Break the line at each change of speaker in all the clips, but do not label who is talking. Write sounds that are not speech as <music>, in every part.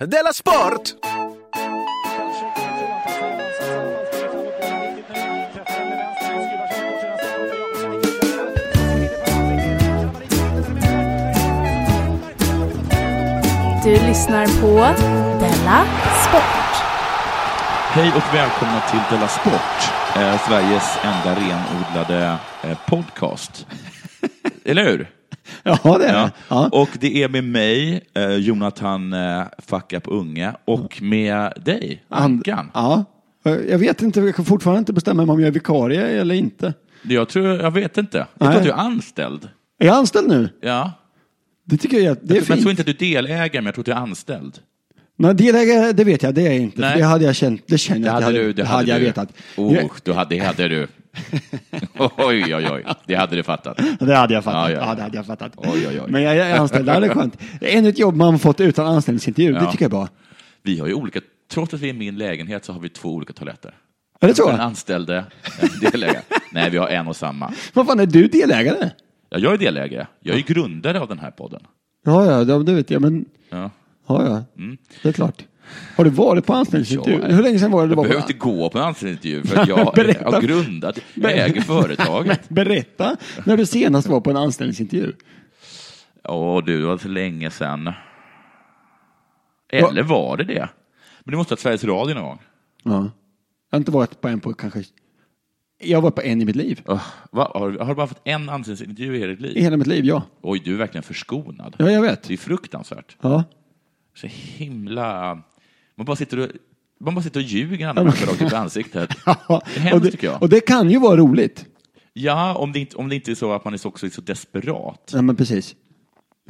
Della Sport!
Du lyssnar på Della Sport.
Hej och välkomna till Della Sport, eh, Sveriges enda renodlade eh,
<laughs>
podcast. Eller hur?
Ja, det är det. Ja.
Och det är med mig, eh, Jonathan eh, Fuck Up Unge, och med dig, Ankan.
Ja. Jag vet inte, jag kan fortfarande inte bestämma mig om jag är vikarie eller inte.
Jag, tror, jag vet inte. Jag tror
Nej.
att du är anställd.
Är jag anställd nu?
Ja.
Det tycker jag är- det är
Men jag tror
fint.
inte att du är delägare, men jag tror att du är anställd.
Nej, delägare, det vet jag, det är jag inte. för
Nej.
Det hade jag känt, det känner
Det
jag att
hade
jag
du. Det hade
jag
du.
vetat.
Oh, du hade, det hade
<laughs>
du. Oj, oj, oj. Det hade du fattat.
Ja, Det hade jag
Ja,
fattat. Ja,
ja, ja.
det hade jag fattat.
Oj, oj, oj.
Men jag är anställd, det är skönt. Det är Ännu ett jobb man fått utan anställningsintervju,
Ja.
det tycker jag är bra.
Vi har ju olika, trots att vi är i min lägenhet så har vi två olika toaletter.
Är det så?
En anställde, en
<laughs>
delägare. Nej, vi har en och samma.
Vad fan, är du delägare?
Ja, jag är delägare. Jag är grundare av den här podden.
Ja, ja, det det vet jag, men
Ja.
ja, ja. Det är klart. Har du varit på anställningsintervju?
Mm. Ja.
Hur länge sedan var det du
Jag
var
behöver
på
inte gå på en anställningsintervju
<laughs>
för att jag är-
Berätta.
har grundat, jag äger
<laughs>
företaget.
Berätta när du senast var på en anställningsintervju.
Åh du, det var så länge sedan. Eller var det det? Men det måste ha varit Sveriges Radio någon gång.
Ja. Jag har inte varit på en på kanske... Jag har varit på en i mitt liv.
Öh, va? Har, du- har du bara fått en anställningsintervju i hela ditt
I
liv?
hela mitt liv, ja.
Oj, du är verkligen förskonad.
Ja, jag vet.
Det är fruktansvärt.
Ja.
Så himla... Man bara sitter och, man bara sitter och ljuger
<laughs>
andra människor rakt upp i ansiktet. Det är hemskt,
och, det,
tycker jag.
och det kan ju vara roligt.
Ja, om det, inte, om det inte är så att man är så, också så desperat.
Ja, men precis.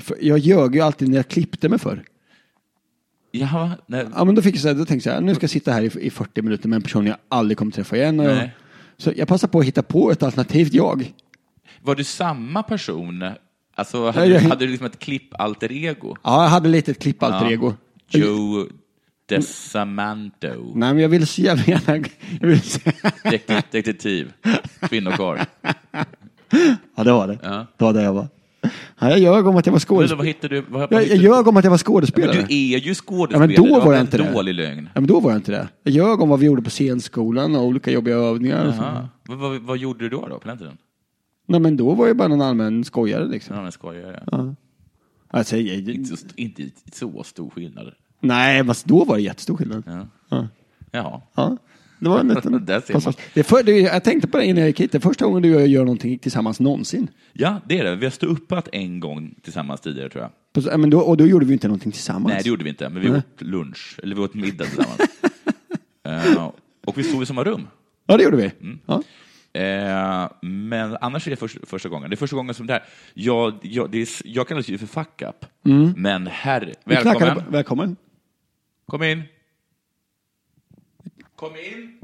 För jag ljög ju alltid när jag klippte mig för.
Ja, nej,
Ja, men då, fick jag så här, då tänkte jag så här, nu ska jag sitta här i, i 40 minuter med en person jag aldrig kommer träffa igen. Och jag,
Nej.
så jag passade på att hitta på ett alternativt jag.
var du samma person? Alltså, hade,
Nej,
du-
jag-
hade du liksom ett klipp-alter ego?
Ja, jag hade lite ett klipp alter ego.
Joe Desamanto,
Nej, men jag ville så jävla gärna... <laughs> Jag ville så...
dekt- detektiv, kvinnokarl.
<laughs> ja, det var det.
Ja.
Det var det jag var. Ja, jag ljög om att
Men
jag var
Vad
skådespelare.
hittade du? Vad, vad
Jag, jag
hittade-
ljög om att jag var
men
skådespelare.
du är ju
Ja,
skådespelare,
men då var jag
en
inte det.
dålig lögn.
Ja, men då var jag inte det. Jag ljög om vad vi gjorde på scenskolan och olika jobbiga övningar. Och sånt.
Ja. Vad, vad, vad gjorde du då, då på den tiden?
Nej, men då var jag bara någon allmän skojare liksom.
Ja, men skojare.
Alltså, jag,
Inte, så, inte så stor skillnad.
nej, men då var det jättestor skillnad. Ja.
Ja.
Ja.
Jaha.
Det var en
<laughs>
liten...
Där ser man.
passage. det är för, det, är- jag tänkte på det innan jag gick hit. Det är första gången du och jag gör någonting tillsammans någonsin.
Ja, det är det. Vi har ståuppat en gång tillsammans tidigare, tror jag.
På så- ja, Men då, och då gjorde vi inte någonting tillsammans.
Nej, det gjorde vi inte, men vi
Nej.
åt lunch, eller vi åt middag
<laughs>
tillsammans. Eh, och vi sov i samma rum.
Ja, det gjorde vi.
Mm.
Ja.
Eh, men annars är det först, första gången. Det är första gången som det här. Jag, jag, det är, s- jag kallas ju för fuck up, men herre,
Mm. Vi
välkommen.
knackade på- välkommen.
Kom in. Kom in.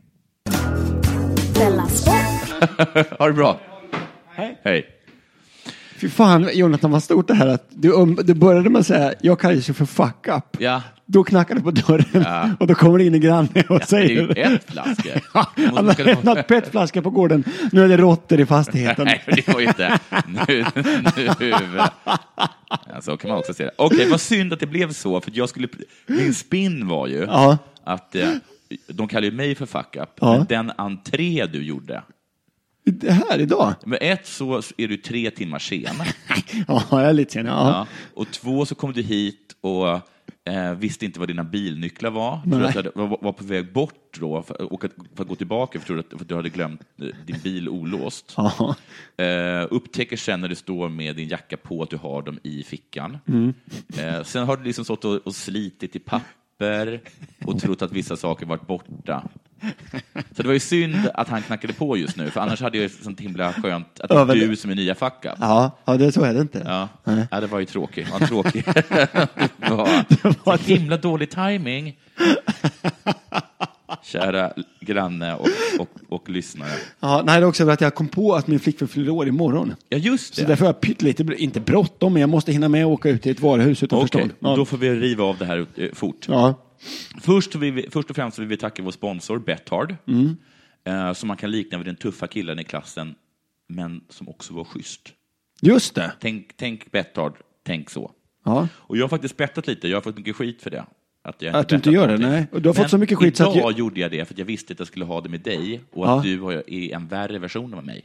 Della Sport.
Ha det bra. Hej.
Fy fan, Jonathan, vad stort det här att du, um, du började med att säga jag kallar dig för fuck up.
Ja.
Då knackar det på dörren
Ja.
<laughs> och då kommer det in en granne och
Det är ju
säger...
petflaskor.
<laughs> Ja, Han har lämnat petflaska på gården. Nu är det råttor i fastigheten.
Nej, det var ju inte... Nu, nu. Ja, så kan man också se det. Okej, vad synd att det blev så, för jag skulle... Min spin var ju
Ja.
att... Eh, de kallar ju mig för fuck up,
Ja.
men den entré du gjorde.
Det här idag?
Med ett så är du tre timmar sen.
Ja, jag är lite sen. Ja.
Ja. Och två så kom du hit och eh, visste inte vad dina bilnycklar var. För
Nej.
att du hade- var, var på väg bort då, för, och att, för att gå tillbaka, för, att du- för att du hade glömt eh, din bil olåst.
Ja.
Eh, upptäcker sen när du står med din jacka på att du har dem i fickan.
Mm.
Eh, sen har du liksom stått och, och slitit i papper och trott att vissa saker varit borta. Så det var ju synd att han knackade på just nu, för annars hade jag ju sånt himla skönt att det är
Över-
du som är nya facka.
Ja, ja det, så är det inte.
Ja.
Nej.
ja, det var ju tråkigt. Det var en
<laughs>
tråkig. ja.
var
Så himla dålig timing. Kära granne och, och, och lyssnare.
Ja, nej, det är också för att jag kom på att min flickvän fyller år imorgon.
Ja, just
Så
det.
därför har jag pyttelite, inte bråttom, men jag måste hinna med att åka ut till ett varuhus utanför
Okej,
stan. Ja.
då får vi riva av det här eh, fort.
Ja.
Först, vill vi, först och främst vill vi tacka vår sponsor Bethard, eh, som man kan likna vid den tuffa killen i klassen, men som också var schysst.
Just det.
Tänk, tänk Bethard, tänk så.
Ja.
Och jag har faktiskt bettat lite, jag har fått mycket skit för det. Att, jag
Att du inte
berättat
gör det,
någonting.
nej. Och du har fått
Men
så mycket skit så
idag
att jag-
gjorde jag det för att jag visste att jag skulle ha det med dig och
Ja.
att du har- är en värre version av mig.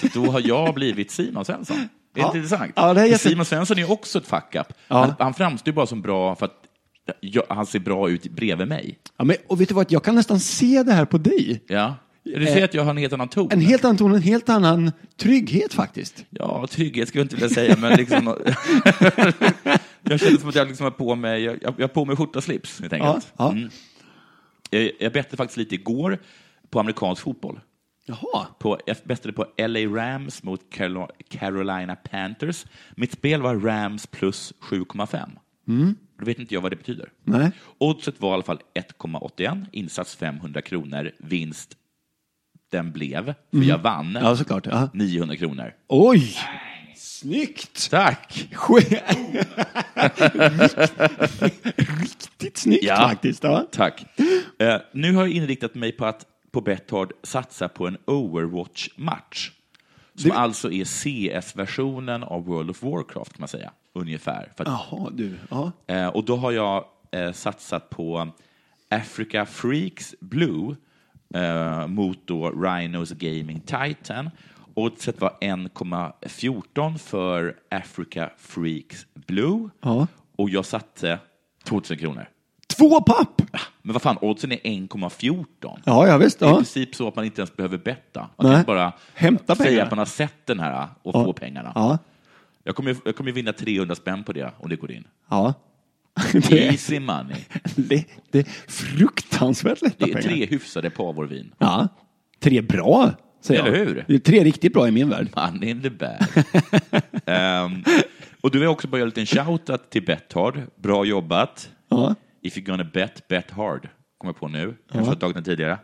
Så då har jag blivit Simon Svensson. Det är
Ja.
inte intressant.
Ja, det är
För
jätte-
Simon Svensson är också ett fuck-up.
Ja.
Han, han framstår ju bara som bra för att jag, han ser bra ut bredvid mig.
Ja, men, och vet du vad, jag kan nästan se det här på dig.
Ja. Du ser att jag har en helt annan ton.
Eh, En helt annan ton, en helt annan trygghet faktiskt.
Ja, trygghet skulle jag inte vilja säga, men
<laughs>
liksom... jag kände som att jag liksom har på mig, jag, jag har på mig skjorta och slips, helt
Ja,
enkelt. Mm.
ja.
Jag, jag bettade faktiskt lite igår på amerikansk fotboll.
Jaha.
På, jag bettade på LA Rams mot Carol- Carolina Panthers. Mitt spel var Rams plus 7,5. Då vet inte jag vad det betyder.
Mm. Nej.
Oddset var i alla fall 1,81, insats 500 kronor, vinst den blev, för jag vann,
Mm. Ja, såklart. Ja.
900 kronor.
Oj! Snyggt!
Tack!
<laughs> Riktigt snyggt
Ja.
faktiskt. Ja.
Tack. Eh, nu har jag inriktat mig på att på Betthard satsa på en Overwatch-match. Som
Det-
alltså är CS-versionen av World of Warcraft, kan man säga. Ungefär. För att,
Jaha, du. Ja.
eh, och då har jag eh, satsat på Africa Freaks Blue eh, mot då Rhinos Gaming Titan. Oddset var 1,14 för Africa Freaks Blue.
Ja.
Och jag satte 2000 kronor.
Två papp!
Men vad fan, oddsen är 1,14.
Ja, ja visst.
Det är i
Ja.
princip så att man inte ens behöver betta. Man
Nej.
kan bara
Hämta
säga
pengarna.
att man har sett den här och
Ja.
få pengarna.
Ja.
Jag kommer ju jag kommer ju vinna 300 spänn på det om det
<laughs>
går in.
ja. Det,
Easy money.
det, det är fruktansvärt lätta
Det är
pengar.
tre hyfsade pavorvin.
Ja. Tre bra, säger
Eller
jag.
hur?
Det är tre riktigt bra i min värld.
Money in the
<laughs>
bag. Ehm, och du har också bara gjort en shoutout till Betthard. Bra jobbat.
Ja.
If you're gonna bet, bet hard. Kommer jag på nu. Kanske har tagit den tidigare.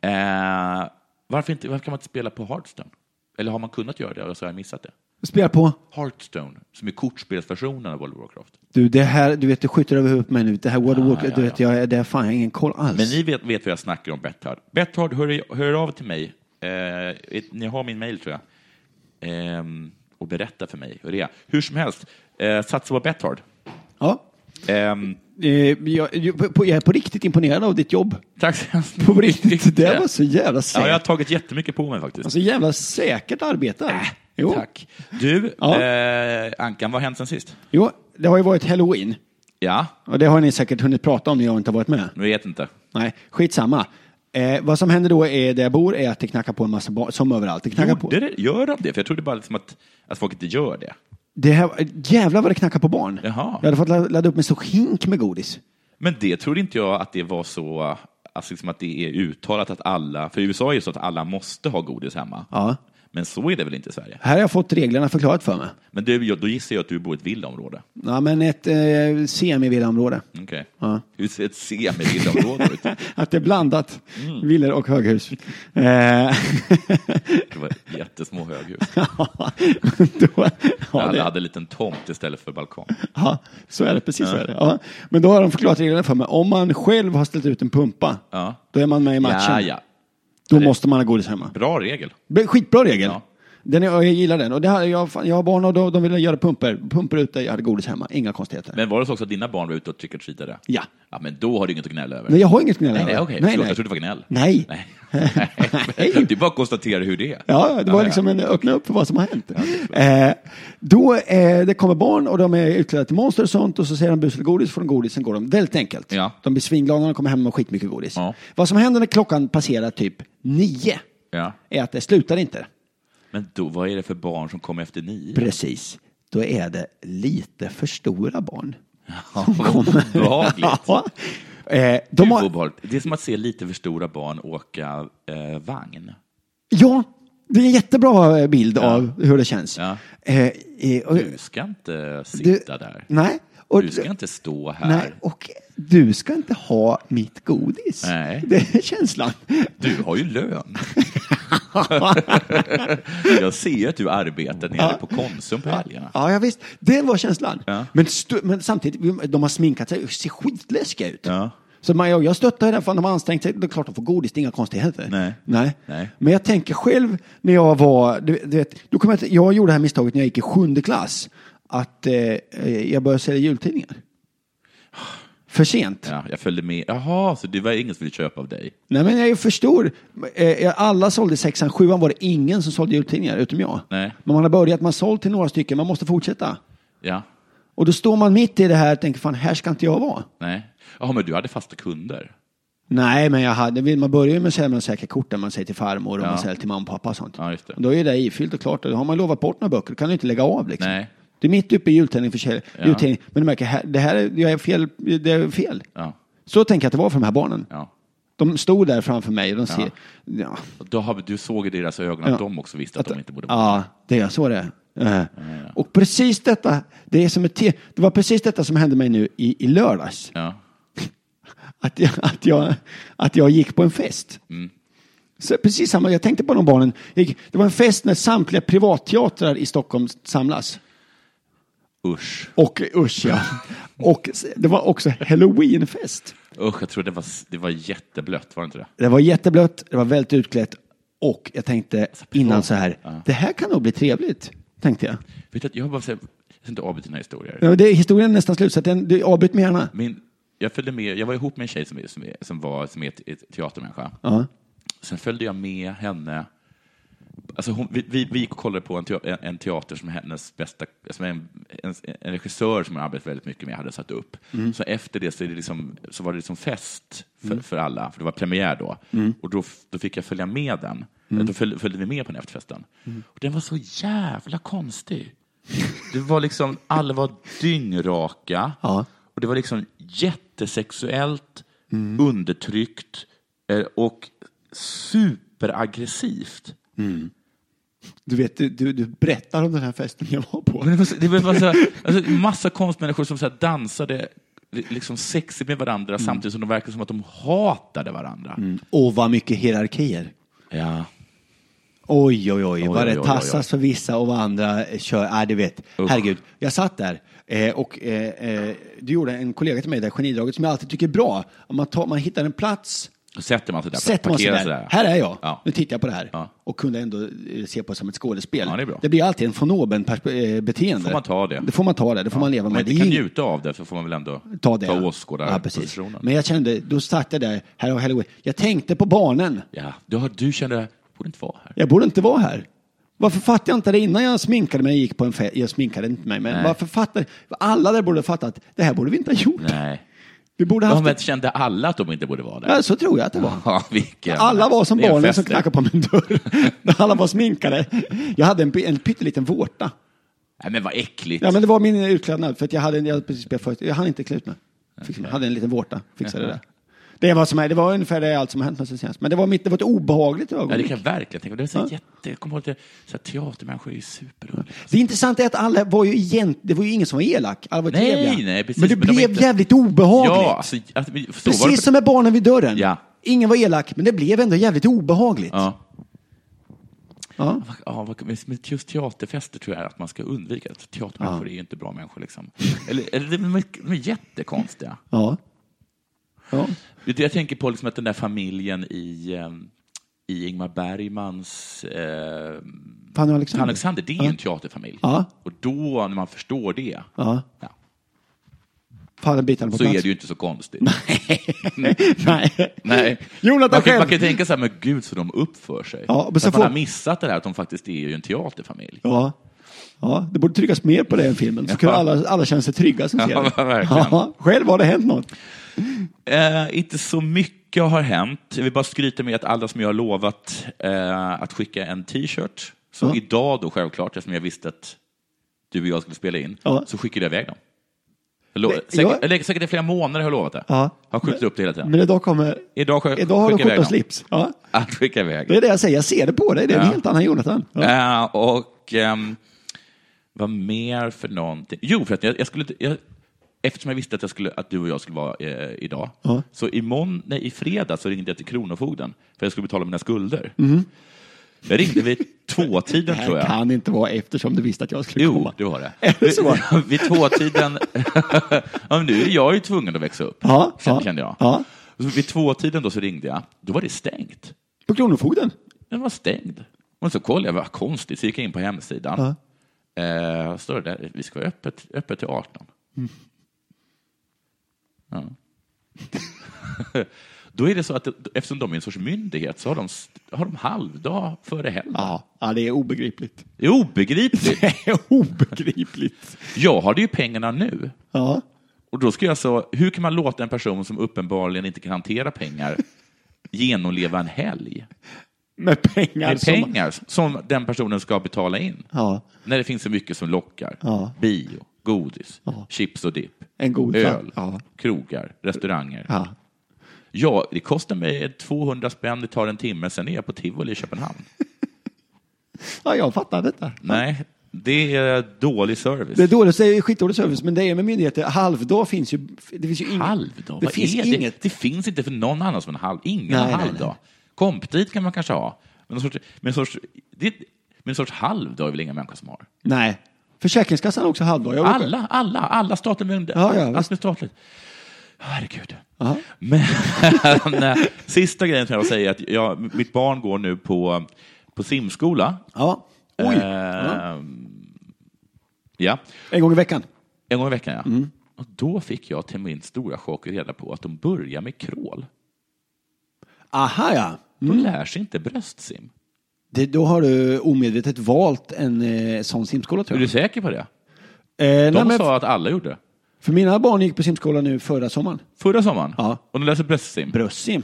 Ehm, varför, inte, varför kan man inte spela på Hearthstone? Eller har man kunnat göra det och så har jag missat det?
Spela på.
Hearthstone, som är kortspelsversionen av World of Warcraft.
Du, det här, du vet, det skjuter över huvudet på mig nu. Det här World of Warcraft, du vet, jag är- det är fan jag har ingen koll alls.
Men ni vet, vet vad jag snackar om, Betthard. Betthard, hör, hör av till mig. Eh, ett- ni har min mail, tror jag. Ehm, och berätta för mig hur det är. Hur som helst, eh, satsa på Betthard.
Ja.
Ehm,
Eh, Jag, jag, på- jag är på riktigt imponerad av ditt jobb.
tack så hemskt
På riktigt, <laughs> det där var Alltså, så jävla
Ja,
säkert.
jag har tagit jättemycket på mig faktiskt.
Så jävla säkert arbetar. jo.
Äh, Tack. Du,
Ja.
eh, Ankan, vad har hänt sen sist?
jo, det har ju varit halloween.
Ja,
Och det har ni säkert hunnit prata om när jag inte har varit med.
jag vet inte.
Nej, skitsamma. Eh, vad som händer då är, där jag bor är att det knackar på en massa barn, som överallt. Det knackar på.
Gjorde det, gör de det? För jag trodde bara liksom att, att folk inte gör det.
Det här, jävlar vad det knackar på barn.
Jaha.
Jag hade fått la- ladda upp en stor hink med godis.
Men det trodde inte jag att det var så, alltså liksom att det är uttalat att alla, för i USA är det så att alla måste ha godis hemma.
Ja.
Men så är det väl inte i Sverige?
Här har jag fått reglerna förklarat för mig.
Men du, jag- då gissar jag att du bor i ett villaområde.
Ja, men ett eh, semivillaområde.
Okej.
Ja.
Hur ser ett semivillaområde ut?
<laughs> Att det är blandat.
Mm.
Villor och höghus. Eh, <laughs>
Det var jättesmå höghus.
ja, då, ja,
alla
det,
hade en liten tomt istället för balkong.
ja, så är det. Precis så är det. Ja. Men då har de förklarat reglerna för mig. Om man själv har ställt ut en pumpa,
Ja.
då är man med i matchen.
Ja, ja.
Då måste man ha godis hemma.
Bra regel.
Men Skitbra regel.
Ja.
Den är, jag gillar den. Och det här, jag, fan, jag har barn och de, de ville göra pumper. Pumper ute, jag hade godis hemma. Inga konstigheter.
Men var det så också att dina barn var ute och trick or treatade?
Ja.
Ja, men då har du inget att gnälla över.
Nej, jag har inget gnäll
Nej,
över.
nej, okej.
Nej,
Förlåt,
nej.
Jag trodde det var gnäll.
Nej.
nej.
<laughs>
nej. Det är bara att konstatera hur det är.
Ja, det var liksom en öppna upp för vad som har hänt. eh, då eh, det kommer barn och de är utklädda till monster och sånt och så säger de bus eller godis, får de godis, sen går de. Väldigt enkelt.
Ja.
De blir svinglada när de kommer hem med skitmycket godis.
Ja.
Vad som händer när klockan passerar typ nio
Ja.
är att det slutar inte.
Men då, vad är det för barn som kom efter nio?
Precis. Då är det lite för stora barn. som kommer.
obehagligt.
<laughs> ja. eh,
Gud,
de
vad
har,
obehagligt. Det är som att se lite för stora barn åka eh, vagn.
ja, det är en jättebra eh, bild av hur det känns.
Ja.
Eh, eh, och,
Du ska inte sitta
Du-
där.
Nej. Och,
Du ska inte stå här.
Nej, och du ska inte ha mitt godis.
Nej.
Det är känslan.
Du har ju
<laughs>
lön. jag ser ju att du arbetar nere på Konsum på helgerna.
Ja, ja, visst. Det var känslan.
Ja.
Men, stu- men samtidigt, de har sminkat sig och ser skitläskiga ut.
Ja.
Så man, jag, jag stöttar ju den, för de har ansträngt sig. Det är klart de får godis, det är inga konstigheter.
Nej.
Nej.
Nej.
Men jag tänker själv när jag var, du, du vet, då kom jag, till- jag gjorde det här misstaget när
Ah.
jag gick i sjunde klass, att eh, eh, jag började sälja jultidningar. För sent.
Ja, jag följde med. Jaha, så det var ingen som ville köpa av dig?
Nej, men jag förstår. Eh, Alla sålde sexan, sjuan var det ingen som sålde jultidningar, utom jag.
Nej.
Men man har börjat, man har sålt till några stycken, man måste fortsätta.
Ja.
Och då står man mitt i det här och tänker, fan, här ska inte jag vara.
Nej. Jaha, men du hade fasta kunder?
Nej, men jag hade, man börjar ju med att sälja med de säkra korten, man säger till farmor och
Ja.
man säljer till mamma och pappa och sånt.
Ja, just det.
Och då är det ifyllt och klart, och då har man lovat bort några böcker, då kan du inte lägga av liksom.
Nej.
Du är mitt uppe i jultidning, försäljning,
Ja.
jultidning, men du märker, här, det här är, jag är fel, det är fel.
Ja.
Så tänker jag att det var för de här barnen.
ja.
De stod där framför mig och de ser, ja,
Och Då har, du såg i deras ögon att
Ja.
de också visste att de inte borde bo.
Ja, det är så det är. Eh, Och precis detta, det, är som ett te- det var precis detta som hände mig nu i, i lördags.
Ja.
Att jag, att, jag, att jag gick på en fest. Så precis samma, jag tänkte på de barnen. Jag gick, det var en fest när samtliga privatteatrar i Stockholm samlas.
Usch.
Och usch ja. <laughs> Och s- det var också halloweenfest.
Usch, jag tror det var, det var jätteblött, var det inte det?
Det var jätteblött, det var väldigt utklätt. Och jag tänkte innan så här,
Ja.
det här kan nog bli trevligt, tänkte jag.
Vet du, att jag har bara sett, jag ska inte avbryta dina historier.
Ja, Det, historien är nästan slut, så att den, du avbryt mig gärna.
Min, jag följde med, jag var ihop med en tjej som, som, som, var, som är ett, ett teatermänniska.
Ja.
Sen följde jag med henne. Alltså hon, vi, vi, vi gick och kollade på en, tea- en, en teater som hennes bästa, som en, en, en regissör som hon arbetat väldigt mycket med hade satt upp. Så efter det så, är det liksom, så var det liksom fest för, för alla, för det var premiär då. Och då, f- då fick jag följa med den. Då följde, följde vi med på den efterfesten. Och den var så jävla konstig. Det var liksom, alla var dyngraka.
Ja.
Och det var liksom jättesexuellt, undertryckt eh, och superaggressivt.
Du vet, du, du, du berättar om den här festen jag var på.
Men det var, så- det var så här, alltså, massa konstmänniskor som så här dansade li- liksom sexigt med varandra
Mm.
samtidigt som de verkade som att de hatade varandra.
Och vad mycket hierarkier.
Ja.
Oj, oj, oj,
oj,
vad det
oj,
tassas för vissa och vad andra eh, kör. Ja, du vet. Herregud, jag satt där eh, och eh, eh, du gjorde en kollega till mig där, genidraget, som jag alltid tycker är bra. Om Man, tar, man hittar en plats,
Då sätter man sig där,
sätter man sig
parkerar
där. Här är jag,
Ja.
nu tittar jag på det här.
Ja.
Och kunde ändå eh, se på det som ett skådespel.
Ja, det är bra.
blir alltid en von oben-beteende.
Får man ta det.
Det får man ta det, det får man leva
Om
med.
man
Det är
inte kan
ing-
njuta av det så får man väl ändå
ta det. ja, precis.
åskådarpositionen.
Men jag kände, då satt jag där, här och halloween. Jag tänkte på barnen.
ja. du, har- du kände, borde inte vara här.
Jag borde inte vara här. Varför fattade jag inte det innan jag sminkade mig? och Gick på en fe- jag sminkade inte mig, men
Nej.
varför fattade... Alla där borde ha fattat, det här borde vi inte ha gjort.
Nej.
Vi borde ha
Ja,
haft...
men kände alla att de inte borde vara där?
Ja, så tror jag att det var.
<laughs> Ja, vilken.
Alla var som
Det är en
barnen
fest
som
det.
knackade på min dörr. <laughs> Alla var sminkade. Jag hade en, py- en pytteliten vårta.
Nej, men vad äckligt.
Ja, men det var min utklädnad, för att jag hade, jag hade precis spelat förut. Jag hann inte klä ut mig. Fixade mig. hade en liten vårta, fixade det där. Det var, som, det var ungefär det allt som har hänt mig sen senast. Men det var, mitt, det var ett obehagligt
Ja, det
ögonblick.
kan jag verkligen tänka mig. Det är så
Ja.
jätte... Jag kommer ihåg att det- så här, teatermänniskor är ju superroliga.
Det intressanta är att alla var ju egent, det var ju ingen som var elak. Alla var
Nej,
trevliga.
nej, precis,
men det
men de
blev
är inte-
jävligt obehagligt.
Ja, alltså, att, vi- så var det.
Precis som med barnen vid dörren.
Ja.
Ingen var elak, men det blev ändå jävligt obehagligt.
Ja.
Ja.
Ja, vad- men men just teaterfester tror jag att man ska undvika. Att Teatermänniskor är ju inte bra människor. Liksom. Eller, eller de, är, de är jättekonstiga.
Ja. Ja.
Det Jag tänker på liksom att den där familjen i, ehm, i Ingmar Bergmans eh,
Fanny och Alexander.
Alexander. Alexander, det är en teaterfamilj.
Ja.
Och då, när man förstår det,
Ja.
ja,
Fan, bitarna på
så är
plats.
det ju inte så konstigt.
<laughs> Nej.
Nej.
<laughs> Jonathan
man, kan,
själv.
man kan tänka så här, men gud så de uppför sig.
Ja, men
För
så
att
får-
man har missat det här att de faktiskt är ju en teaterfamilj.
Ja. ja, det borde tryckas mer på det än filmen. Så kunde
Ja.
alla, alla känna sig trygga som
<laughs>
ser
Ja,
det.
verkligen.
Ja, själv har det hänt något.
Eh, inte så mycket har hänt. Jag vill bara skryta med att alla som jag har lovat eh, att skicka en t-shirt, så
Ja.
idag då självklart, eftersom jag visste att du och jag skulle spela in,
Ja.
så skickade jag iväg dem. Jag lo-
Men
säkert,
jag-
eller säkert i flera månader har jag lovat det.
Ja.
Har skjutit upp det hela tiden.
Men idag kommer...
idag sk-
Idag har
skickar jag
de korta
iväg dem.
slips. Ja.
<laughs> Att skicka iväg.
Det är det jag säger, jag ser det på dig. Det är en
Ja.
helt annan Jonathan. Ja.
Eh, och ehm, vad mer för någonting? Jo, för att jag, jag skulle... Jag, eftersom jag visste att, jag skulle, att du och jag skulle vara eh, idag,
Ja.
så i, mån, nej, i fredag så ringde jag till Kronofogden för jag skulle betala mina skulder. Jag ringde
<laughs>
vid tvåtiden,
Mm. Det
tror
här
jag.
kan inte vara eftersom du visste att jag skulle
Jo,
komma.
du har det.
Är
<laughs>
det så?
Vid, vid tvåtiden... <laughs> ja, men nu är jag ju tvungen att växa upp,
Ja,
sen
ja,
kände jag.
ja.
Så vid tvåtiden då så ringde jag. Då var det stängt.
På Kronofogden?
Den var stängd. Och så kollade jag, vad konstigt, så gick jag in på hemsidan. Eh, står det där, vi ska vara öppet, öppet till 18. Ja. <laughs> Då är det så att det- eftersom de är en sorts myndighet så har de, st- har de halvdag före helg.
Ja, ja det är obegripligt. <laughs>
Det är obegripligt.
Det är obegripligt.
Jag hade ju pengarna nu.
Ja.
Och då ska jag så, hur kan man låta en person som uppenbarligen inte kan hantera pengar genomleva en helg
Med pengar.
med
som-
pengar som den personen ska betala in?
Ja.
När det finns så mycket som lockar.
Ja.
Bio, godis,
Ja.
chips och dipp,
En god
öl,
Ja.
krogar, restauranger.
ja.
Ja, det kostar mig 200 spänn, det tar en timme, sen är jag på Tivoli i Köpenhamn.
Ja, jag fattar detta.
Nej, det är dålig service.
Det är dåligt, det är skitdålig service, men det är med myndigheter. Halvdag finns ju. Det finns ju inget.
Halvdag?
Det
Vad
finns
är det?
inget.
det finns inte för någon annan som en halv. Ingen
Nej,
har
nej,
halvdag. Komptid kan man kanske ha. Men en sorts, men en sorts, det, men en sorts halvdag är väl inga människor som har?
Nej. Försäkringskassan har också halvdag. Jag råkar-
Alla, alla, alla statliga myndigheter.
Ja, ja,
Allt
visst.
med statligt. Herregud.
Ja.
<laughs> Men, nej, sista grejen som jag vill säga är att jag, mitt barn går nu på, på simskola.
Ja.
Eh.
Oj. Ja.
Ehm, ja.
En gång i veckan.
En gång i veckan, ja.
Mm.
Och då fick jag till min stora chock reda på att de börjar med crawl.
Aha, ja.
De lär sig inte bröstsim.
Det, då har du omedvetet valt en eh, sån simskola
Är
tror
du
jag.
säker på det?
Eh,
De
nej, men,
sa att alla gjorde.
För mina barn gick på simskola nu förra sommaren.
Förra sommaren?
Ja.
Och de läser bröstsim?
Bröstsim.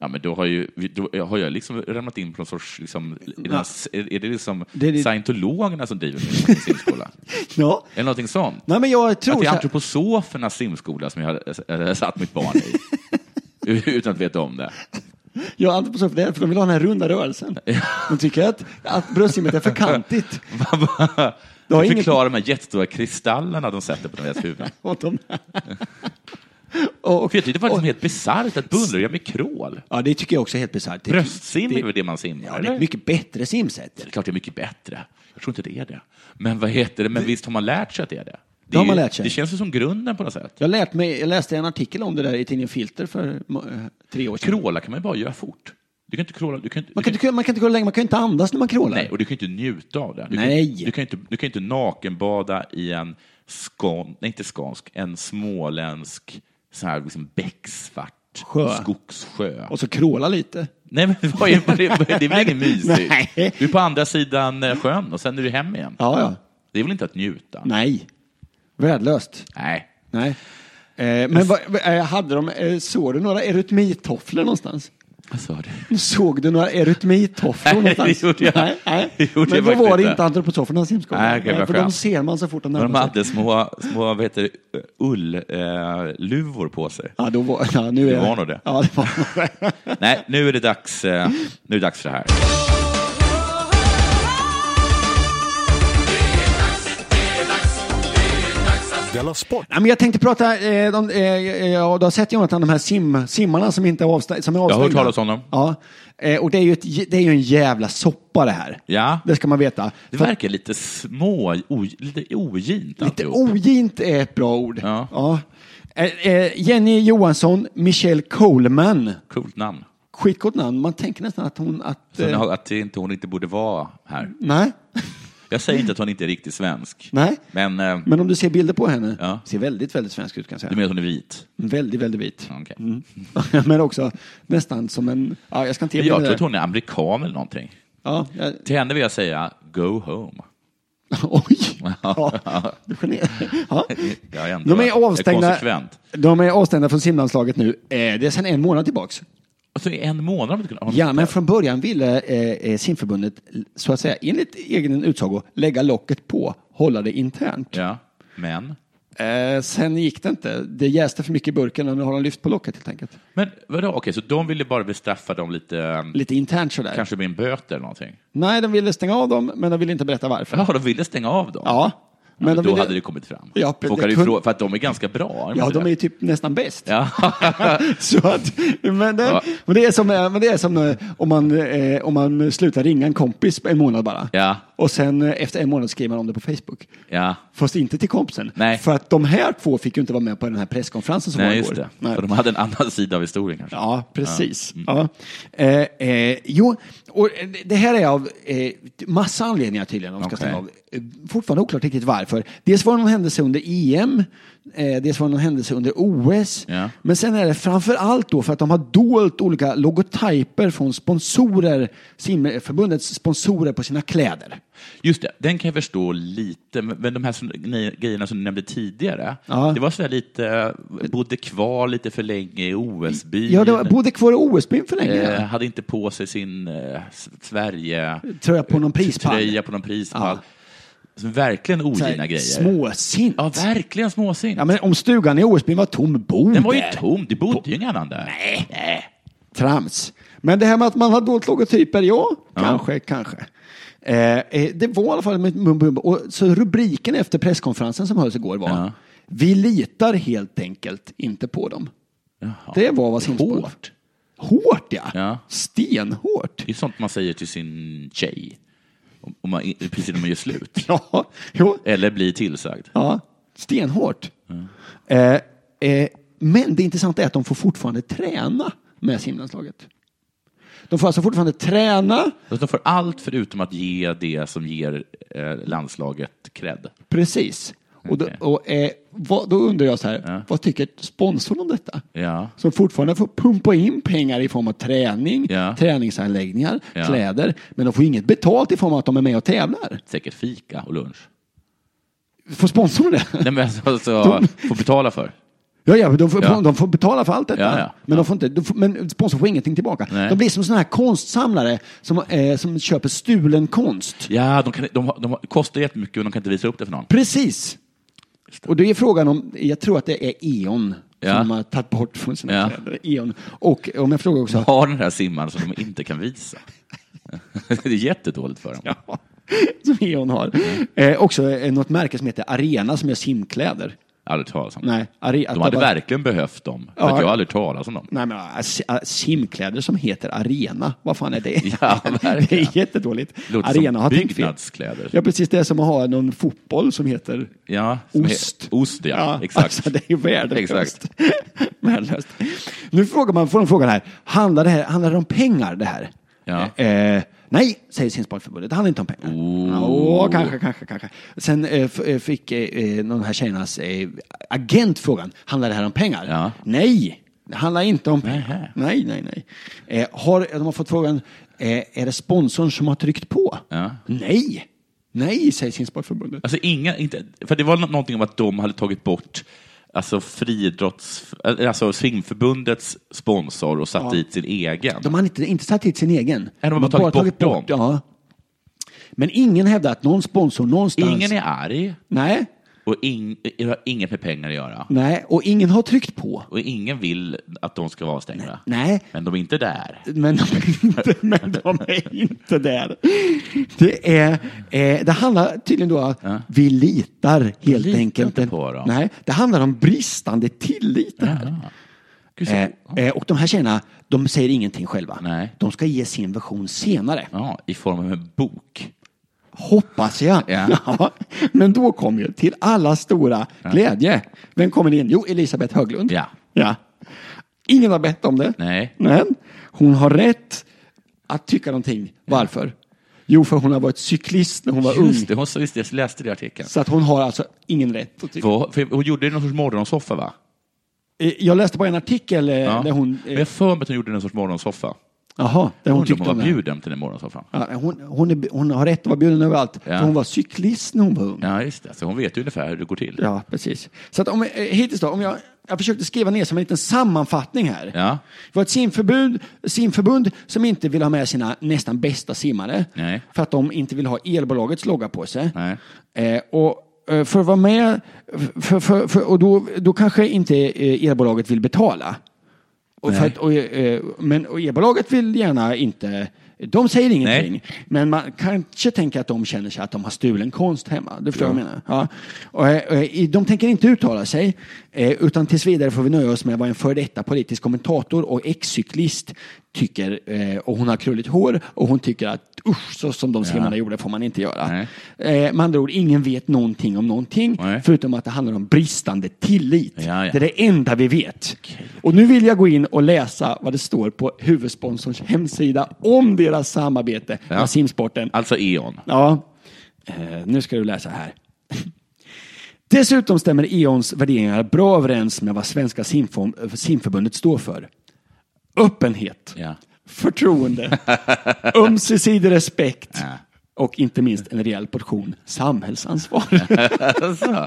Ja, men då har, ju, då har jag liksom ramlat in på någon sorts... Liksom, är det- är det liksom
Det är det-
scientologerna som driver min simskola?
Ja.
Eller någonting sånt?
Nej, men jag tror
Att det är
så här-
antroposofernas simskola som jag har äh, satt mitt barn
<laughs>
i. Utan att veta om det.
Jag är alltid på så för det, för de vill ha den här runda rörelsen. De tycker att, att bröstsimmet är för kantigt.
<laughs>
Du har
Förklara
inget-
de här jättestora kristallerna de sätter på deras huvuden.
åt dem. <laughs> och,
För jag tyckte faktiskt det var helt bisarrt att bullra med krål.
ja, det tycker jag också är helt bisarrt. Det-
Bröstsim är
det-
väl det man simmar?
Ja, det är
eller?
ett mycket bättre simsätt.
Det är klart det är mycket bättre. Jag tror inte det är det. Men vad heter det? Men visst har man lärt sig att det är det? Det, är
har man
ju-
lärt sig.
det känns ju som grunden på något sätt.
Jag, lärt mig, jag läste en artikel om det där i tidningen Filter för eh, tre år sedan.
Kråla kan man ju bara göra fort. Du kan inte kråla... Du kan, inte-
Man
du
kan, inte, man kan inte gå länge, man kan ju inte andas när man krålar.
Nej, och du kan ju inte njuta av det. Du
Nej.
Kan, du, kan ju inte, du kan ju inte nakenbada i en skån, nej inte skånsk, en småländsk så här liksom becksvart
Sjö.
skogssjö.
Och så kråla lite.
Nej, men vad är, vad är, vad är, det är väl
<laughs>
inget mysigt?
Nej.
Du är på andra sidan eh, sjön och sen är du hem igen.
Ja, ja.
Det är väl inte att njuta?
Nej. Värdelöst.
Nej.
Nej. Eh, men vad, eh, hade de, eh, såg du några erytmitofflor någonstans?
Vad sa du?
Såg du några
Nej,
erytmitofflor någonstans?
det gjorde jag.
Nej, nej.
<laughs> Det gjorde
Men
jag
då
faktiskt
var det
inte.
inte antroposofernas simskola.
Nej, okej, vad
för de
skönt.
ser man så fort de
De
närmar sig.
hade små, små vad heter det, ullluvor eh, luvor på
<laughs>
sig.
Ja, då var, ja, nu är
Det var nog det.
Ja, det var nog det.
Nej, nu är det dags, eh, nu är det dags för det här.
Della Sport!
Ja, men jag tänkte prata, eh, de, eh, ja, du har sett Jonathan, de här sim, simmarna som inte är avstängda. Som är
hört
avstängda.
talas om dem.
Ja, eh, och det är, ju ett, j- det är ju en jävla soppa det här.
Ja.
Det ska man veta.
Det
För-
verkar lite små, o, lite ogint
Lite
alltihop.
ogint är ett bra ord.
Ja.
Eh, eh, Jenny Johansson, Michelle Coleman.
Coolt namn.
Skitgott namn. Man tänker nästan att hon... Att,
Så
eh,
att det inte, hon inte borde vara här.
Nej.
Jag säger inte att hon inte är riktigt svensk.
Nej.
Men eh,
Men om du ser bilder på henne,
Ja.
ser väldigt, väldigt svensk ut kan jag
du
säga.
menar att hon är vit?
Väldigt, väldigt vit. Mm.
Okej.
<laughs> Men också nästan som en, ja jag ska inte ge
Men
mig
Jag
det
tror att
där.
hon är amerikan eller någonting.
Ja, jag...
Till henne vill jag säga, go home.
<laughs> Oj! Ja, du gener... ja.
Jag är ändå
De är avstängda,
konsekvent.
de är avstängda från simlandslaget nu. Eh, det är sedan en månad tillbaks.
Alltså i en månad har de inte kunnat- har de
Ja,
inte-
men från början ville eh, eh, simförbundet, så att säga, enligt egen utsago, lägga locket på, hålla det internt.
Ja, men.
Eh, sen gick det inte. Det jäste för mycket i burken och nu har de lyft på locket helt enkelt.
Men vadå, okej, så de ville bara bestraffa dem lite, eh,
Lite internt sådär.
kanske med en böter eller någonting?
Nej, de ville stänga av dem, men de ville inte berätta varför.
Ja, de ville stänga av dem?
Ja, men
men
de
då
ville...
hade det kommit fram.
Ja,
Folk hade ju
det-
frå- för att de är ganska bra.
Ja, de är
det?
ju typ nästan bäst.
Ja.
<laughs> Så att, men, det,
Ja.
men, det är som, eh, men det är som eh, om man, eh, om man slutar ringa en kompis en månad bara.
Ja.
Och sen eh, efter en månad skriver man om det på Facebook.
ja.
Fast inte till kompisen.
Nej.
För att de här två fick ju inte vara med på den här presskonferensen som var
Nej,
igår.
just det.
Nej.
För de hade en annan <laughs> sida av historien kanske.
Ja, precis.
mm.
Ja. Eh, eh, jo, och eh, det här är av eh, massa anledningar tydligen. De ska
Okej.
stänga av. Eh, Fortfarande oklart riktigt varför för. Dels var det någon händelse under EM, eh, dels var det någon händelse under OS.
Ja.
Men sen är det framför allt då för att de har dolt olika logotyper från sponsorer, simförbundets sponsorer på sina kläder.
Just det, den kan jag förstå lite, men men de här som, nej, grejerna som du nämnde tidigare,
Ja.
det var sådär lite, eh, bodde kvar lite för länge i OS-byn.
Ja, det var, bodde kvar i OS-byn för länge.
Eh, hade inte på sig sin eh, S- Sverige...
Tröja på någon prispall.
Tröja på någon prispall.
Ja.
Så Verkligen
Så här,
ogina grejer.
Småsint.
Ja, verkligen småsint.
Ja, men Mm. om stugan i OS-byn var tom, bo
Den var ju
där.
tom, det bodde ju ingen annan där. Nej.
Trams. Men det här med att man har dolt logotyper, ja, kanske, kanske. Eh, eh, det var i alla fall med mum mum. Och så rubriken efter presskonferensen som hölls igår var
Ja.
Vi litar helt enkelt inte på dem. Det var vad Simsport...
Hårt.
Hårt, ja.
Ja.
Stenhårt. <laughs>
Det är sånt man säger till sin tjej, om- om man, precis när man gör slut.
Ja, jo.
Eller blir tillsagd.
Ja, stenhårt. Eh, eh, men det intressanta är att de får fortfarande träna med simlandslaget. De får alltså fortfarande träna,
Så De får allt förutom att ge det som ger eh, landslaget cred.
precis. Och då, och, eh, vad, då undrar jag så här, vad tycker sponsorn om detta?
Ja.
Som fortfarande får pumpa in pengar i form av träning,
Ja.
träningsanläggningar,
Ja.
kläder, men de får inget betalt i form av att de är med och tävlar.
Säkert fika och lunch.
Får sponsorn det? <laughs>
Nej, men alltså, alltså, får betala för.
Ja, ja, de, får,
Ja.
de får betala för allt detta.
Ja, ja.
Men, de får inte, de får, men sponsorn får ingenting tillbaka.
Nej.
De blir som sådana här konstsamlare som, eh, som köper stulen konst.
Ja, de, kan, de, har- de har- kostar jättemycket men de kan inte visa upp det för någon.
Precis. Och det är frågan om, jag tror att det är E.ON
Ja.
som de har tagit bort från sina
Ja.
kläder. E.ON. Och om jag frågar också,
Har den här simman som de inte kan visa. <laughs> Det är jättedåligt för dem.
<laughs> som E.ON har,
Mm.
eh, också eh, något märke som heter Arena som gör simkläder.
Aldrig talas om.
Nej, are, att
De hade
bara-
verkligen behövt dem. För
Ja.
att jag har aldrig talat om dem.
Nej, men ah, si- ah, simkläder som heter Arena, vad fan är det?
<laughs> Ja,
<laughs> det
verkligen.
är jättedåligt.
Låter
Arena
som
har tänkt fel.
byggnadskläder.
Ja, precis. Det är som att ha någon fotboll som heter
Ja, som he-
Ost.
Ost, ja. <laughs> Exakt.
Alltså, det är ju värdelöst.
Exakt.
<laughs> värdelöst. Nu frågar man, får de frågan här, handlar det, här, handlar det om pengar det här?
Ja. Oh.
Eh, nej, säger Simsportförbundet, det handlar inte om pengar. Åh, kanske, kanske, kanske. Sen eh, f- eh, fick eh, eh, någon av de här tjejernas eh, agent frågan, handlar det här om pengar?
Ja.
Nej, det handlar inte om
Nähä.
pengar. Nej, nej, nej. Eh, har, de har fått frågan, eh, är det sponsorn som har tryckt på?
Ja.
Nej, nej, säger Simsportförbundet.
Alltså inga, inte, för det var nå- någonting om att de hade tagit bort alltså friidrotts, eller alltså simförbundets sponsor och satt dit sin egen.
De har inte, inte satt hit sin egen.
de har bara tagit bort dem.
Ja. Men ingen hävdar att någon sponsor någonstans...
Ingen är arg
Nej,
och ing, det har inget med pengar att göra.
nej, och ingen har tryckt på.
Och ingen vill att de ska vara stängda.
Nej,
Men de är inte där.
men <laughs> de är inte, men de är inte där. Det, är, eh, det handlar tydligen då om att vi litar helt
litar
enkelt.
inte på dem.
Nej, det handlar om bristande tillit. det här.
Gud, så-
Eh, eh, och de här tjejerna, de säger ingenting själva.
Nej.
De ska ge sin version senare.
Ja, I form av en bok.
Hoppas jag.
Ja.
<laughs> Ja. Men då kom ju till alla stora glädje. Vem kommer in? Jo, Elisabeth Höglund.
Ja.
ja. Ingen har bett om det.
Nej.
Men hon har rätt att tycka någonting. Varför? Jo, för hon har varit cyklist när hon var ung.
Just det, hon sa- just det, jag läste det i artikeln.
Så att hon har alltså ingen rätt att tycka.
Vad- För hon gjorde någon sorts morgonsoffa, va?
Eh, Jag läste bara en artikel eh,
Ja.
där hon...
Men jag har för mig att hon gjorde någon sorts morgonsoffa.
Jaha, där
Undrar
hon
om
tyckte
hon
om
var
det.
bjuden till den morgonsoffan.
Ja, hon, hon, är, hon har rätt att vara bjuden överallt.
Ja.
För hon var cyklist när hon var ung.
Ja, just det. Så hon vet ju ungefär hur det går till.
Ja, precis. Så att om, eh, hittills då, om jag, jag försökte skriva ner som en liten sammanfattning här.
Ja.
Det var ett simförbund, simförbund som inte vill ha med sina nästan bästa simmare.
Nej.
För att de inte vill ha elbolagets logga på sig.
Nej.
Eh, och eh, för att vara med, för, för, för, och då, då kanske inte eh, elbolaget vill betala. Och för
Nej.
att, och, eh, men och elbolaget vill gärna inte, de säger ingenting. Men man kanske tänker att de känner sig att de har stulen konst hemma. Du förstår vad jag menar? Ja. Och, eh, eh, i- de tänker inte uttala sig, eh, utan tills vidare får vi nöja oss med vad en före detta politisk kommentator och ex-cyklist tycker. eh, Och hon har krulligt hår och hon tycker att usch, så som de simmarna gjorde får man inte göra.
Nej.
Eh, Med andra ord, ingen vet någonting om någonting,
Nej.
förutom att det handlar om bristande tillit.
Ja, ja.
Det är det enda vi vet. Och nu vill jag gå in och läsa vad det står på huvudsponsorns hemsida om deras samarbete
Ja.
med simsporten.
Alltså E.ON.
Ja, eh, nu ska du läsa här. <laughs> Dessutom stämmer EONs värderingar bra överens med vad Svenska simfon- simförbundet står för. Öppenhet,
Ja. <laughs>
förtroende, ömsesidig respekt
Ja.
och inte minst en rejäl portion
<laughs>
samhällsansvar.
Alltså.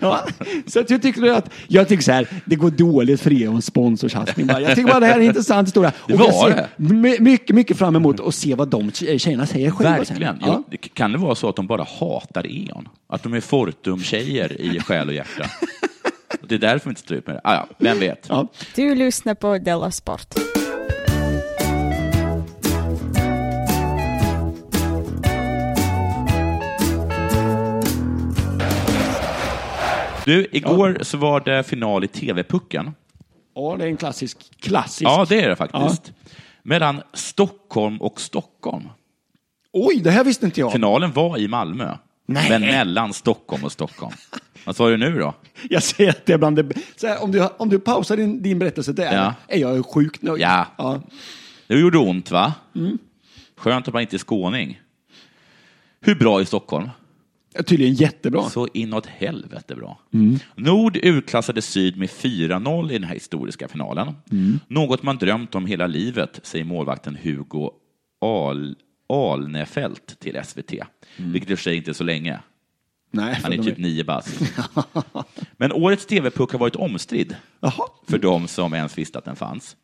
Ja, så att jag tycker att, jag tycker så här, det går dåligt för Eons sponsorsatsning. bara. Jag tycker bara det här är en intressant historia.
Det
Och jag
var
ser
det.
my- Mycket, mycket fram emot att se vad de tjejerna säger själva. sen.
Verkligen.
Ja.
Ja. Kan det vara så att de bara hatar Eon? Att de är Fortum-tjejer i själ och
<laughs>
hjärta? Det är därför de inte står ut med det. Ah, ja, vem vet?
Ja.
Du lyssnar på Della Sport.
Du, igår så var det final i TV-pucken.
ja, det är en klassisk, klassisk.
Ja, det är det faktiskt. Mellan Stockholm och Stockholm.
Oj, det här visste inte jag.
Finalen var i Malmö,
Nej.
men mellan Stockholm och Stockholm. Vad sa du nu då?
Jag säger att det är bland det så här, om, du, om du pausar din, din berättelse där
Ja.
är jag sjukt nöjd.
Ja. Det gjorde ont, va?
Mm.
Skönt att man inte är skåning. Hur bra är Stockholm?
Tydligen jättebra.
Så inåt helvete bra.
Mm.
Nord utklassade Syd med 4-0 i den här historiska finalen.
Mm.
Något man drömt om hela livet, säger målvakten Hugo Al Alnefelt till SVT. Vilket i och för sig inte är så länge.
Nej, Mm. för
Han är
de
typ nio
<laughs>
bast. Men årets TV-puck har varit omstridd
Jaha.
för de som ens visste att den fanns.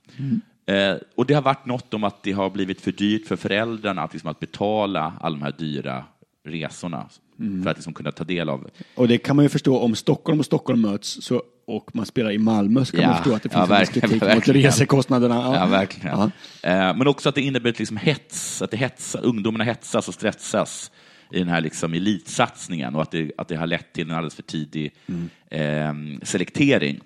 Eh, och det har varit något om att det har blivit för dyrt för föräldrarna att, liksom, att betala alla de här dyra resorna för att liksom, kunna ta del av
Och det kan man ju förstå om Stockholm och Stockholm möts så, och man spelar i Malmö så kan
Ja,
man förstå att det
ja,
finns en viss
verkligen,
kritik mot
verkligen.
resekostnaderna.
Ja, verkligen.
Ja.
Eh, Men också att det inneburit liksom hets, att det hetsar, ungdomarna hetsas och stressas i den här liksom elitsatsningen och att det, att det har lett till en alldeles för tidig eh, selektering.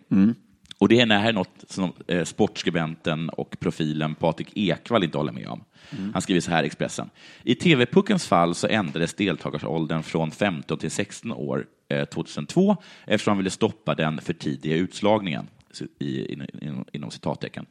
Och det är- det här är något som eh, sportskribenten och profilen Patrik Ekwall inte håller med om. Han skriver så här i Expressen. I TV-puckens fall så ändrades deltagarsåldern från 15 till 16 år eh, 2002 eftersom han ville stoppa den för tidiga utslagningen, så- i, in, in, inom citattecken.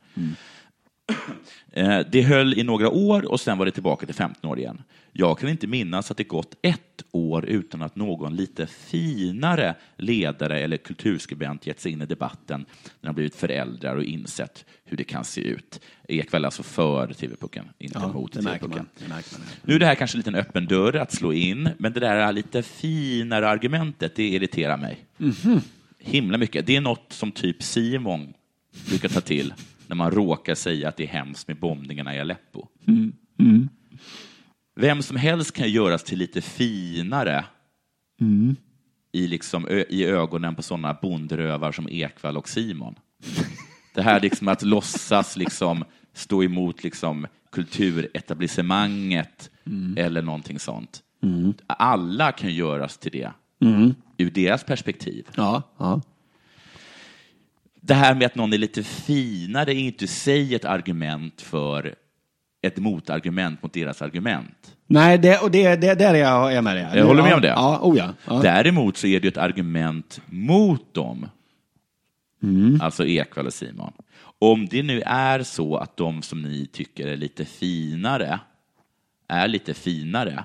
Eh, Det höll i några år och sen var det tillbaka till 15 år igen. Jag kan inte minnas att det gått ett år utan att någon lite finare ledare eller kulturskribent gett sig in i debatten när de blivit föräldrar och insett hur det kan se ut. Ekwall är alltså för TV-pucken, inte mot
det märker man.
TV-pucken.
Det märker man.
Nu är det här kanske en liten öppen dörr att slå in, men det där lite finare argumentet, det irriterar mig. Himla mycket. Det är något som typ Simon brukar ta till när man råkar säga att det är hemskt med bombningarna i Aleppo. Vem som helst kan göras till lite finare i, liksom, ö- i ögonen på sådana bondrövar som Ekvall och Simon. Det här liksom att låtsas liksom stå emot liksom kulturetablissemanget eller någonting sånt. Alla kan göras till det ur deras perspektiv.
Ja, ja.
Det här med att någon är lite finare är inte i sig ett argument för ett motargument mot deras argument.
Nej, det, och det, det där är jag är med dig.
Jag håller med om det.
Ja, oh ja. ja.
Däremot så är det ju ett argument mot dem,
Mm.
alltså Ekwall och Simon. Om det nu är så att de som ni tycker är lite finare är lite
<laughs>
finare,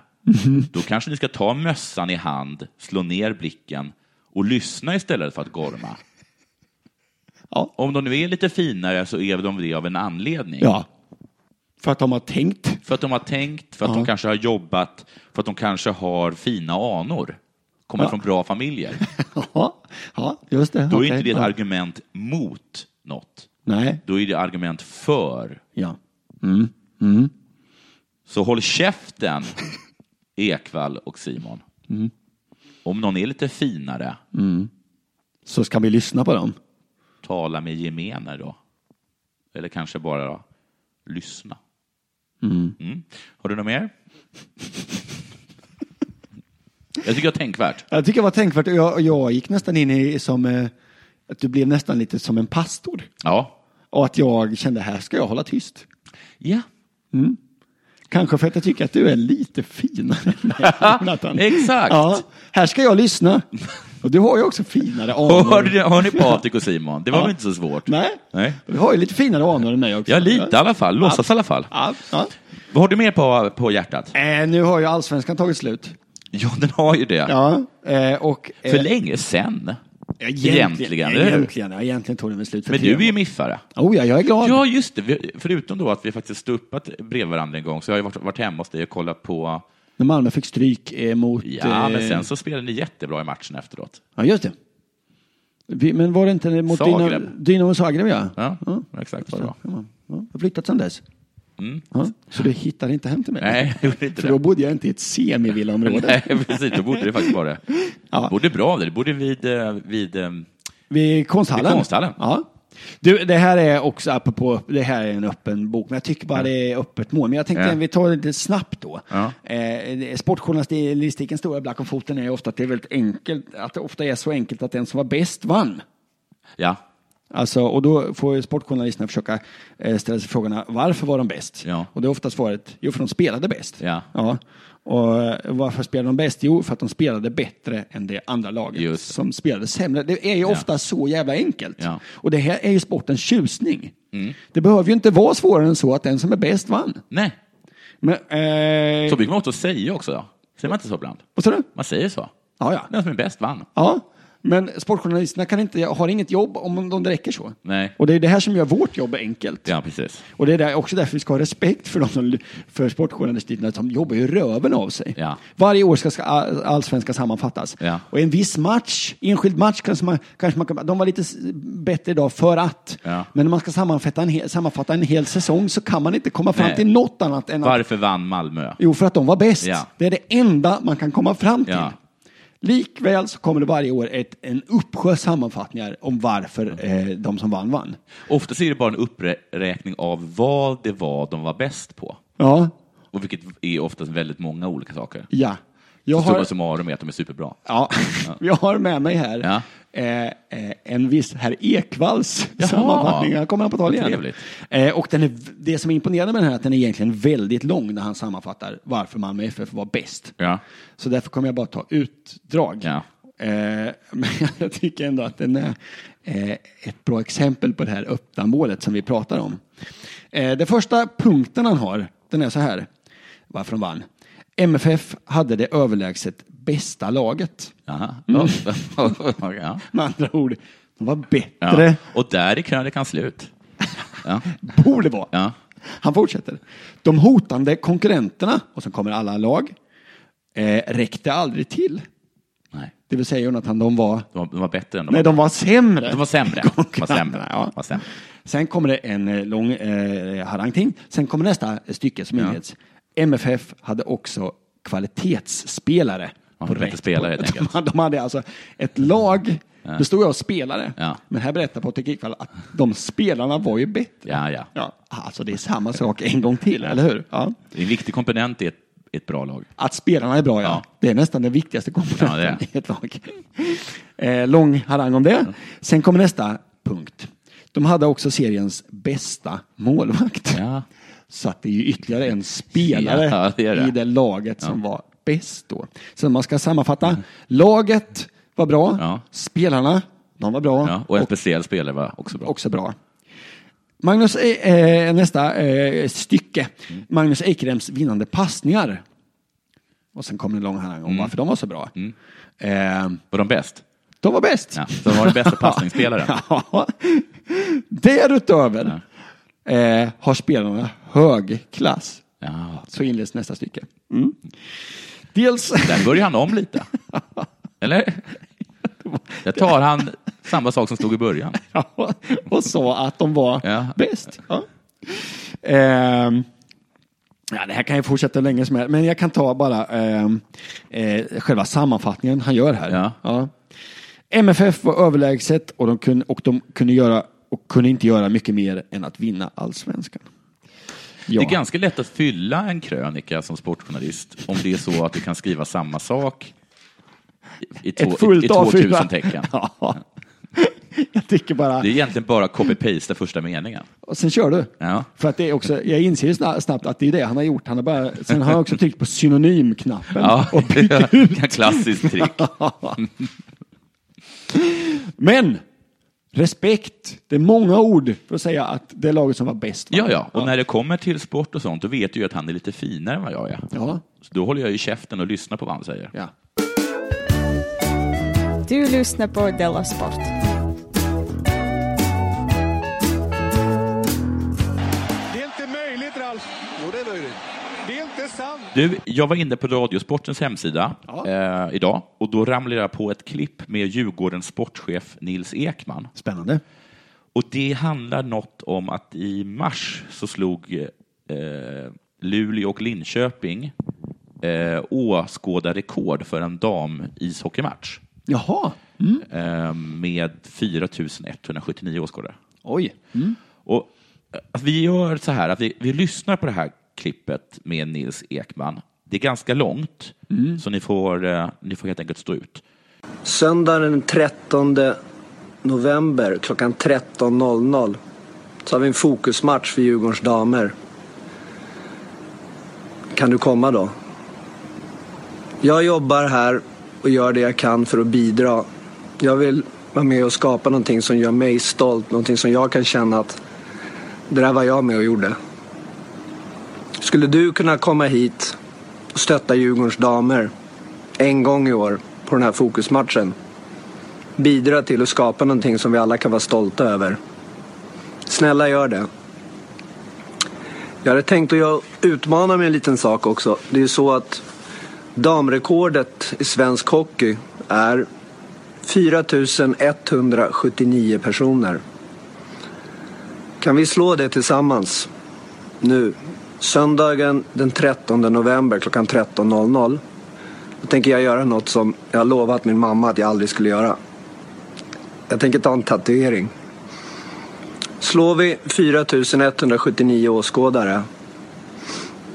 då kanske ni ska ta mössan i hand, slå ner blicken och lyssna istället för att gorma.
Ja.
Om de nu är lite finare så är de det av en anledning.
ja. För att de har tänkt. <laughs>
För att de har tänkt, för att
Ja.
de kanske har jobbat, för att de kanske har fina anor, kommer
Ja.
från bra familjer.
Ja, ja just det.
Då är
Okej.
inte det ett
ja.
argument mot något.
Nej,
Då är det argument för.
ja.
Så håll käften, Ekvall och Simon.
Mm.
Om någon är lite finare,
Så ska vi lyssna på dem.
tala med gemene då. Eller kanske bara då, lyssna. Mm. Har du något mer? Jag tycker det var tänkvärt.
Jag tycker det var tänkvärt. och Jag, jag gick nästan in i som, eh, att du blev nästan lite som en pastor.
Ja.
Och att jag kände, här ska jag hålla tyst.
Ja.
Kanske för att jag tycker att du är lite finare
<laughs>
än mig, Jonathan.
Exakt.
Ja, här ska jag lyssna. Och du har ju
<laughs>
också finare
Och hör, ni-
anor.
hör ni Patrik och Simon? Det var
Ja.
väl inte så svårt?
Nej.
Nej.
Du har ju lite finare anor än mig också.
Ja, lite i alla fall. Låtsas i alla fall.
Ja, ja.
Vad har du mer på, på hjärtat?
Eh, nu har ju allsvenskan tagit slut.
Ja, den har ju det.
Ja, eh, och... eh,
För länge sen.
ja,
egentligen, eller hur?
egentligen, ja, egentligen tog den väl slut för
Men
tre
du är ju
år.
miffare.
Oh ja, jag är glad.
Ja, just det. Vi- Förutom då att vi faktiskt stuppat bredvid varandra en gång, så jag har ju varit, varit hemma hos dig och kollat på...
När Malmö fick stryk eh, mot...
Ja,
eh,
men sen så spelade ni jättebra i matchen efteråt.
Ja, just det. Vi, men var det inte mot
Zagreb.
Dynamo- Dynamo Zagreb? Ja,
Ja, exakt vad det var.
Mm. Ja, man. Ja, jag har flyttat sedan dess. Ja, så du hittade inte hem till mig?
Mm. Nej, jag gjorde inte
För då
det.
bodde jag inte i ett semivillaområde.
Nej, precis. Då borde det faktiskt vara det.
Ja.
Borde bra där. Det borde vid... eh, vid eh,
Vid konsthallen.
Vid konsthallen.
Ja. Du, det här är också, apropå, det här är en öppen bok, men jag tycker bara det är öppet mål. Men jag tänkte,
Ja.
vi tar det lite snabbt då.
Ja.
Eh, sportjournalistikens stora black om foten är ofta att det är väldigt enkelt, att det ofta är så enkelt att den som var bäst vann.
ja.
Alltså, och då får ju sportjournalisterna försöka eh, ställa sig frågorna, varför var de bäst?
Ja.
Och det är ofta svaret, jo för de spelade bäst.
Ja.
Och eh, varför spelade de bäst? Jo, för att de spelade bättre än det andra laget
Just.
som spelade sämre. Det är ju ofta så jävla enkelt.
Ja. Mm.
Och det här är ju sportens tjusning. Det behöver ju inte vara svårare än så att den som är bäst vann.
Nej.
Men, eh,
Så brukar man också säga också. Då. Säger man inte så ibland?
vad sa du?
Man säger så.
Ja, ja.
Den som är bäst vann.
Ja, men sportjournalisterna kan inte, har inget jobb om de räcker så.
Nej.
Och det är det här som gör vårt jobb enkelt.
Ja, precis.
Och det är där, också därför vi ska ha respekt för de som, för sportjournalisterna, de jobbar ju röven av sig.
Ja.
Varje år ska, ska all- allsvenskan sammanfattas.
Ja.
Och en viss match, enskild match, kanske man, kanske man kan, de var lite s- bättre idag för att.
Ja.
Men när man ska sammanfatta en, hel, sammanfatta en hel säsong så kan man inte komma fram
Nej.
till något annat än att,
Varför vann Malmö?
jo för att de var bäst.
Ja.
Det är det enda man kan komma fram till.
Ja.
Likväl så kommer det varje år ett, en uppsjö sammanfattningar om varför eh, de som vann vann.
Ofta så är det bara en uppräkning av vad det var de var bäst på.
Ja,
Och vilket är oftast väldigt många olika saker.
ja. Jag
Jag
har-
har... summarum är att de är superbra.
Ja, <laughs> jag har med mig här
Ja.
eh, eh, en viss herr Ekvalls
Jaha.
sammanfattning. Han kommer han på tal igen.
Trevligt.
Eh, och den är, det som är imponerande med den här är att den är egentligen väldigt lång när han sammanfattar varför Malmö FF var bäst.
Ja.
Så därför kommer jag bara ta utdrag.
Ja.
Eh, <laughs> men jag tycker ändå att den är eh, ett bra exempel på det här öppna målet som vi pratar om. Eh, den första punkten han har, den är så här, varför de vann. MFF hade det överlägset bästa laget.
Jaha. ja. <laughs>
Med andra ord, de var bättre,
Ja. Och där är krönikan slut. Ja.
borde vara.
Ja.
Han fortsätter. De hotande konkurrenterna, och så kommer alla lag, eh, räckte aldrig till.
Nej.
Det vill säga Jonathan, de var,
De var, de var bättre än de
nej,
var.
de var sämre.
De var sämre. <laughs>
<laughs>
De var sämre.
Ja.
De var sämre.
Sen kommer det en eh, lång eh, harang till. Sen kommer nästa stycke som inleds. MFF hade också kvalitetsspelare.
Ja, bättre
rätt
spelare,
på-
helt enkelt.
<laughs> de, de hade alltså ett lag bestod ju av spelare.
Ja.
Men här berättar Patrik Ekwall att de spelarna var ju bättre.
Ja, ja.
Ja, alltså det är samma sak en gång till, eller hur? Ja.
Det är En viktig komponent i ett, i ett bra lag.
Att spelarna är bra, ja.
Ja.
Det är nästan den viktigaste komponenten
Ja, det är.
i ett lag. Eh, lång harang om det. Sen kommer nästa punkt. De hade också seriens bästa målvakt.
Ja.
Så att det är ju ytterligare en spelare
Ja, det är det.
i det laget som var bäst då. Så om man ska sammanfatta. Laget var bra.
Ja.
Spelarna, de var bra.
Ja. Och en speciell spelare var också bra.
Också bra. Magnus, eh, eh, nästa eh, stycke.
Mm.
Magnus Eikrems vinnande passningar. Och sen kommer en lång harang om
Mm.
varför de var så bra. Eh,
Var de bäst?
de var
<laughs>
bäst.
Ja. Så de var den bästa passningsspelaren.
<laughs> Ja. Därutöver eh, har spelarna hög klass.
Ja.
Så inleds nästa stycke. Mm. Dels...
Där börjar han om lite. Eller? Där tar han samma sak som stod i början.
<laughs> Ja, och sa att de var
Ja.
bäst. Ja. Ehm, ja, det här kan ju fortsätta hur länge som helst, men jag kan ta bara ehm, eh, själva sammanfattningen han gör här.
Ja.
MFF var överlägset och de kunde, och de kunde, göra, och kunde inte göra mycket mer än att vinna allsvenskan. Ja.
Det är ganska lätt att fylla en krönika som sportjournalist om det är så att du kan skriva samma sak i, i,
Ett
två, i,
fullt
i
A4.
2000 tecken.
<laughs> Ja. Jag tycker bara...
Det är egentligen bara copy-paste första meningen.
Och sen kör du.
Ja.
För att det är också, jag inser ju sna- snabbt att det är det han har gjort. Han har bara, sen har han också tryckt på synonymknappen.
Ja,
Och bytt ut.
klassiskt trick.
Men respekt. Det är många ord för att säga att det laget som var bäst vann.
Ja, ja. Och när det kommer till sport och sånt, då vet du ju att han är lite finare än vad jag är.
Ja.
Så då håller jag ju käften och lyssnar på vad han säger.
ja.
Du lyssnar på Della Sport.
Det är inte möjligt, Ralf. Jo, det är möjligt. Det är inte sant.
Du, jag var inne på Radiosportens hemsida eh, idag och då ramlade jag på ett klipp med Djurgårdens sportchef Nils Ekman.
Spännande.
Och det handlar något om att i mars så slog eh, Luleå och Linköping eh, åskådarrekord för en damishockeymatch
Jaha.
eh, med 4 179 åskådare.
Oj.
Och eh, att vi gör så här att vi, vi lyssnar på det här klippet med Nils Ekman. Det är ganska långt, så ni får, eh, ni får helt enkelt stå ut.
Söndagen den 13 november klockan 13.00 så har vi en fokusmatch för Djurgårdens damer. Kan du komma då? Jag jobbar här och gör det jag kan för att bidra. Jag vill vara med och skapa någonting som gör mig stolt, någonting som jag kan känna att det där var jag med och gjorde. Skulle du kunna komma hit och stötta Djurgårdens damer en gång i år på den här fokusmatchen? Bidra till att skapa någonting som vi alla kan vara stolta över. Snälla gör det. Jag hade tänkt att jag utmana med en liten sak också. Det är ju så att damrekordet i svensk hockey är 4 179 personer. Kan vi slå det tillsammans? nu. Söndagen den 13 november klockan 13.00. Då tänker jag göra något som jag har lovat min mamma att jag aldrig skulle göra. Jag tänker ta en tatuering. Slår vi 4179 åskådare.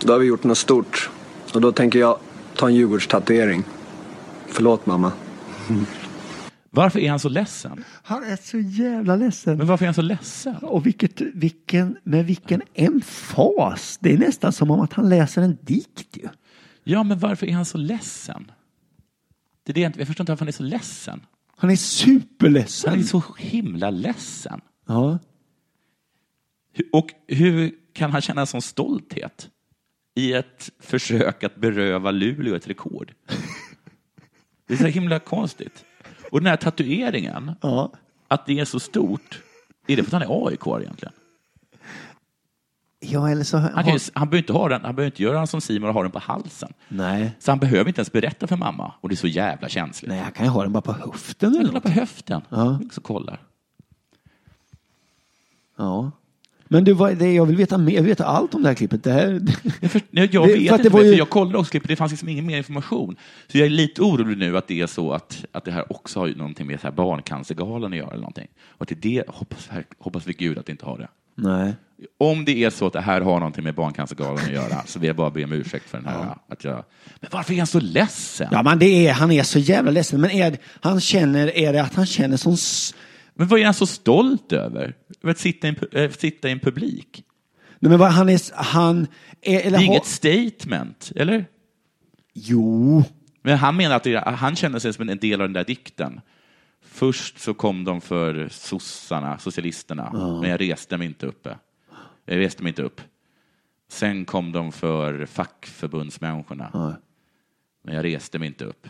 Då har vi gjort något stort. Och då tänker jag ta en Djurgårdstatuering. Förlåt mamma.
Varför är han så ledsen?
Han är så jävla ledsen.
Men varför är han så ledsen?
Och vilket, vilken, med vilken emfas. Det är nästan som om att han läser en dikt ju.
Ja, men varför är han så ledsen? Det är det jag, inte- jag förstår inte varför han är så ledsen.
Han är superledsen.
Han är så himla ledsen.
Ja.
Hu- Och hur kan han känna en sån stolthet i ett försök att beröva Luleå ett rekord? Det är så himla konstigt. Och den här tatueringen,
Ja.
att det är så stort, är det för att han är AIK egentligen?
ja, eller så...
Han, kan ju, han behöver inte ha den, han behöver inte göra den som Simon och ha den på halsen.
Nej.
Så han behöver inte ens berätta för mamma. Och det är så jävla känsligt.
Nej, han kan ju ha den bara på höften
Han
eller
kollar
något.
på höften.
Ja.
Så kollar.
Ja. Men du, vad är det, jag vill veta mer. Jag vill veta allt om det här klippet. Det här...
Jag, först- nej, jag
Det-
vet
för att
inte,
det var
för
ju-
jag kollade också klippet, det fanns liksom ingen mer information. Så jag är lite orolig nu att det är så att, att det här också har ju någonting med så här Barncancergalan att göra eller någonting. Och att det, är det hoppas, verk- hoppas vi gud att det inte har det.
<laughs> Nej.
Om det är så att det här har någonting med Barncancergalan att göra så vill jag bara be om ursäkt för den här. Att jag, men varför är han så ledsen?
Ja, men det är, han är så jävla ledsen. Men är, han känner, är det att han känner sån... s-
Men vad är han så stolt över? Över att sitta i en, pu- eh, sitta i en publik?
Nej, men vad han är... Han är
Det
eller
är
har-
inget statement, eller?
Jo.
Men han menar att det, han känner sig som en del av den där dikten. Först så kom de för sossarna, socialisterna, men jag reste mig inte uppe. Jag reste mig inte upp. Sen kom de för fackförbundsmänniskorna, men jag reste mig inte upp.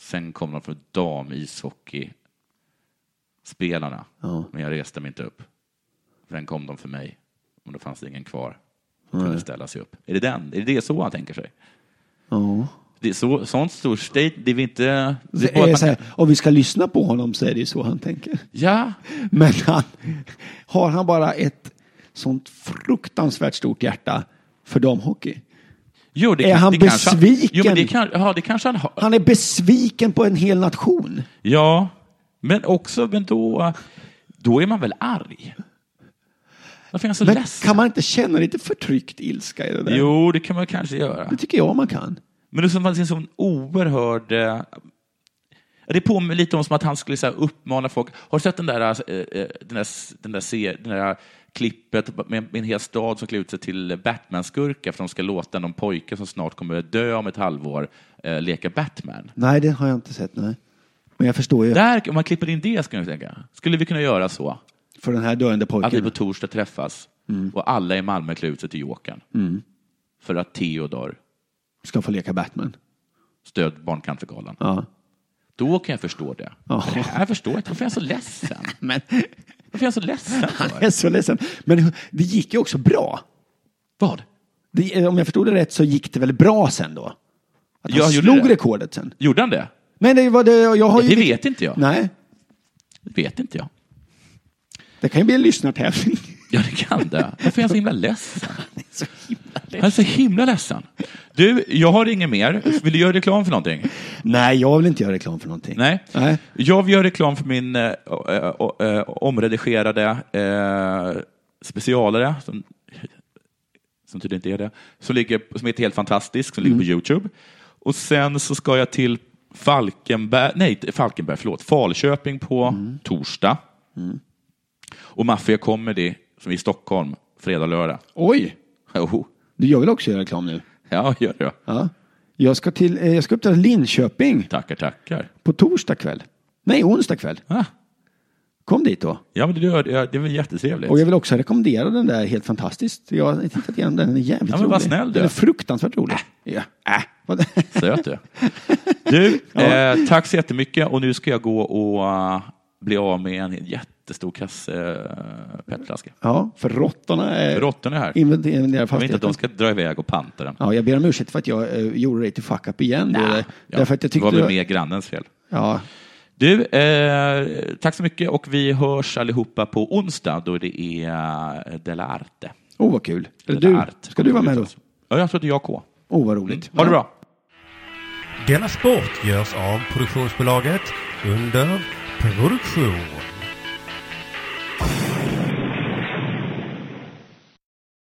Sen kom de för damishockeyspelarna, men jag reste mig inte upp. Sen kom de för mig, men då fanns det ingen kvar som kunde ställa sig upp. Är det den? Är det så han tänker sig?
Ja.
Det är så, sånt stort state, det är väl inte... Det är
Det
bara
är
att
så
man,
här, om vi ska lyssna på honom så är det ju så han tänker. <laughs>
ja,
Men han, har han bara ett sånt fruktansvärt stort hjärta för damhockey?
jo, det,
Är
kan-
han
det kanske
besviken?
Jo, men det, kan, ja, det kanske han har.
Han är besviken på en hel nation.
Ja, men också, men då, då är man väl arg? Varför är han så
Men
ledsen?
kan man inte känna lite förtryckt ilska i det där?
Jo, det kan man kanske göra.
Det tycker jag man kan.
Men det som fanns en sån oerhörd... eh, Det påminner lite om som att han skulle så här, uppmana folk. Har du sett den där, eh, eh, den där, s- den där, se- den där klippet med med en hel stad som klär ut sig till Batman-skurkar för de ska låta någon pojke som snart kommer att dö om ett halvår eh, leka Batman?
Nej, det har jag inte sett. Nej.
Men jag förstår ju,
Där, om man klipper in det, skulle jag tänka. Skulle vi kunna göra så?
för den här döende
Att vi
pojken.
på torsdag träffas
Mm.
och alla i Malmö klär ut sig till Jokern. För att Theodor
ska få leka Batman.
stöd Barncancergalan.
Ja.
Då kan jag förstå det.
Ja.
Det här förstår jag inte. Varför är jag så ledsen?
<laughs> Men
Varför är jag så ledsen?
<laughs> jag är så ledsen. Men hu- det gick ju också bra. Vad? Det, eh, om jag förstod det rätt så gick det väl bra sen då? Att han
Ja, gjorde
slog
det.
rekordet sen.
Gjorde han det?
Men det var det, jag har ju...
Det vet inte jag.
Nej,
Det vet inte jag.
det kan ju bli en lyssnartävling. <laughs>
Ja, det kan det. Varför är jag så himla ledsen? Han är så himla ledsen. Du, jag har inget mer. Vill du göra reklam för någonting?
Nej, jag vill inte göra reklam för någonting.
Nej.
Nej.
Jag gör reklam för min eh, eh, eh, omredigerade eh, specialare, som, som tydligen inte är det, som, ligger, som heter Helt fantastisk, som
Mm.
ligger på Youtube. Och sen så ska jag till Falkenberg, nej, inte Falkenberg, förlåt, Falköping på
Mm.
torsdag. Och Mafia Comedy, som är i Stockholm, fredag, lördag.
Oj,
Jo,
du, jag vill också göra reklam nu.
ja, gör det.
Ja. Jag ska, till, eh, jag ska upp till Linköping
Tackar, tackar.
på torsdag kväll. Nej, onsdag kväll.
Ah,
Kom dit då.
ja, men det, gör- det är väl jättetrevligt.
Och jag vill också rekommendera den där helt fantastiskt. Jag har tittat igenom den, den är jävligt
Ja,
rolig.
men vad snäll du.
Den är fruktansvärt rolig. Ja. Äh. Vad- <laughs>
Söt du. Du, eh, tack så jättemycket och nu ska jag gå och eh, bli av med en jättestor kasse eh, petflaska.
ja, för råttorna är...
Råttorna är här. Jag
Inventerar
vill inte att de
fastigheten.
ska dra iväg och panta den.
Ja, jag ber om ursäkt för att jag eh, gjorde dig till fuck up igen. då.
Ja,
Därför att jag
det
tyckte...
var väl mer grannens fel.
Ja,
Du, eh, tack så mycket och vi hörs allihopa på onsdag då det är eh, Della Arte.
oh vad kul. Eller
Della
du,
Arte. alltså.
ska du vara med då?
Ja, jag tror att det är jag K.
Oh vad roligt.
Mm. Ha det
Ja.
bra.
Denna sport görs av produktionsbolaget under produktion.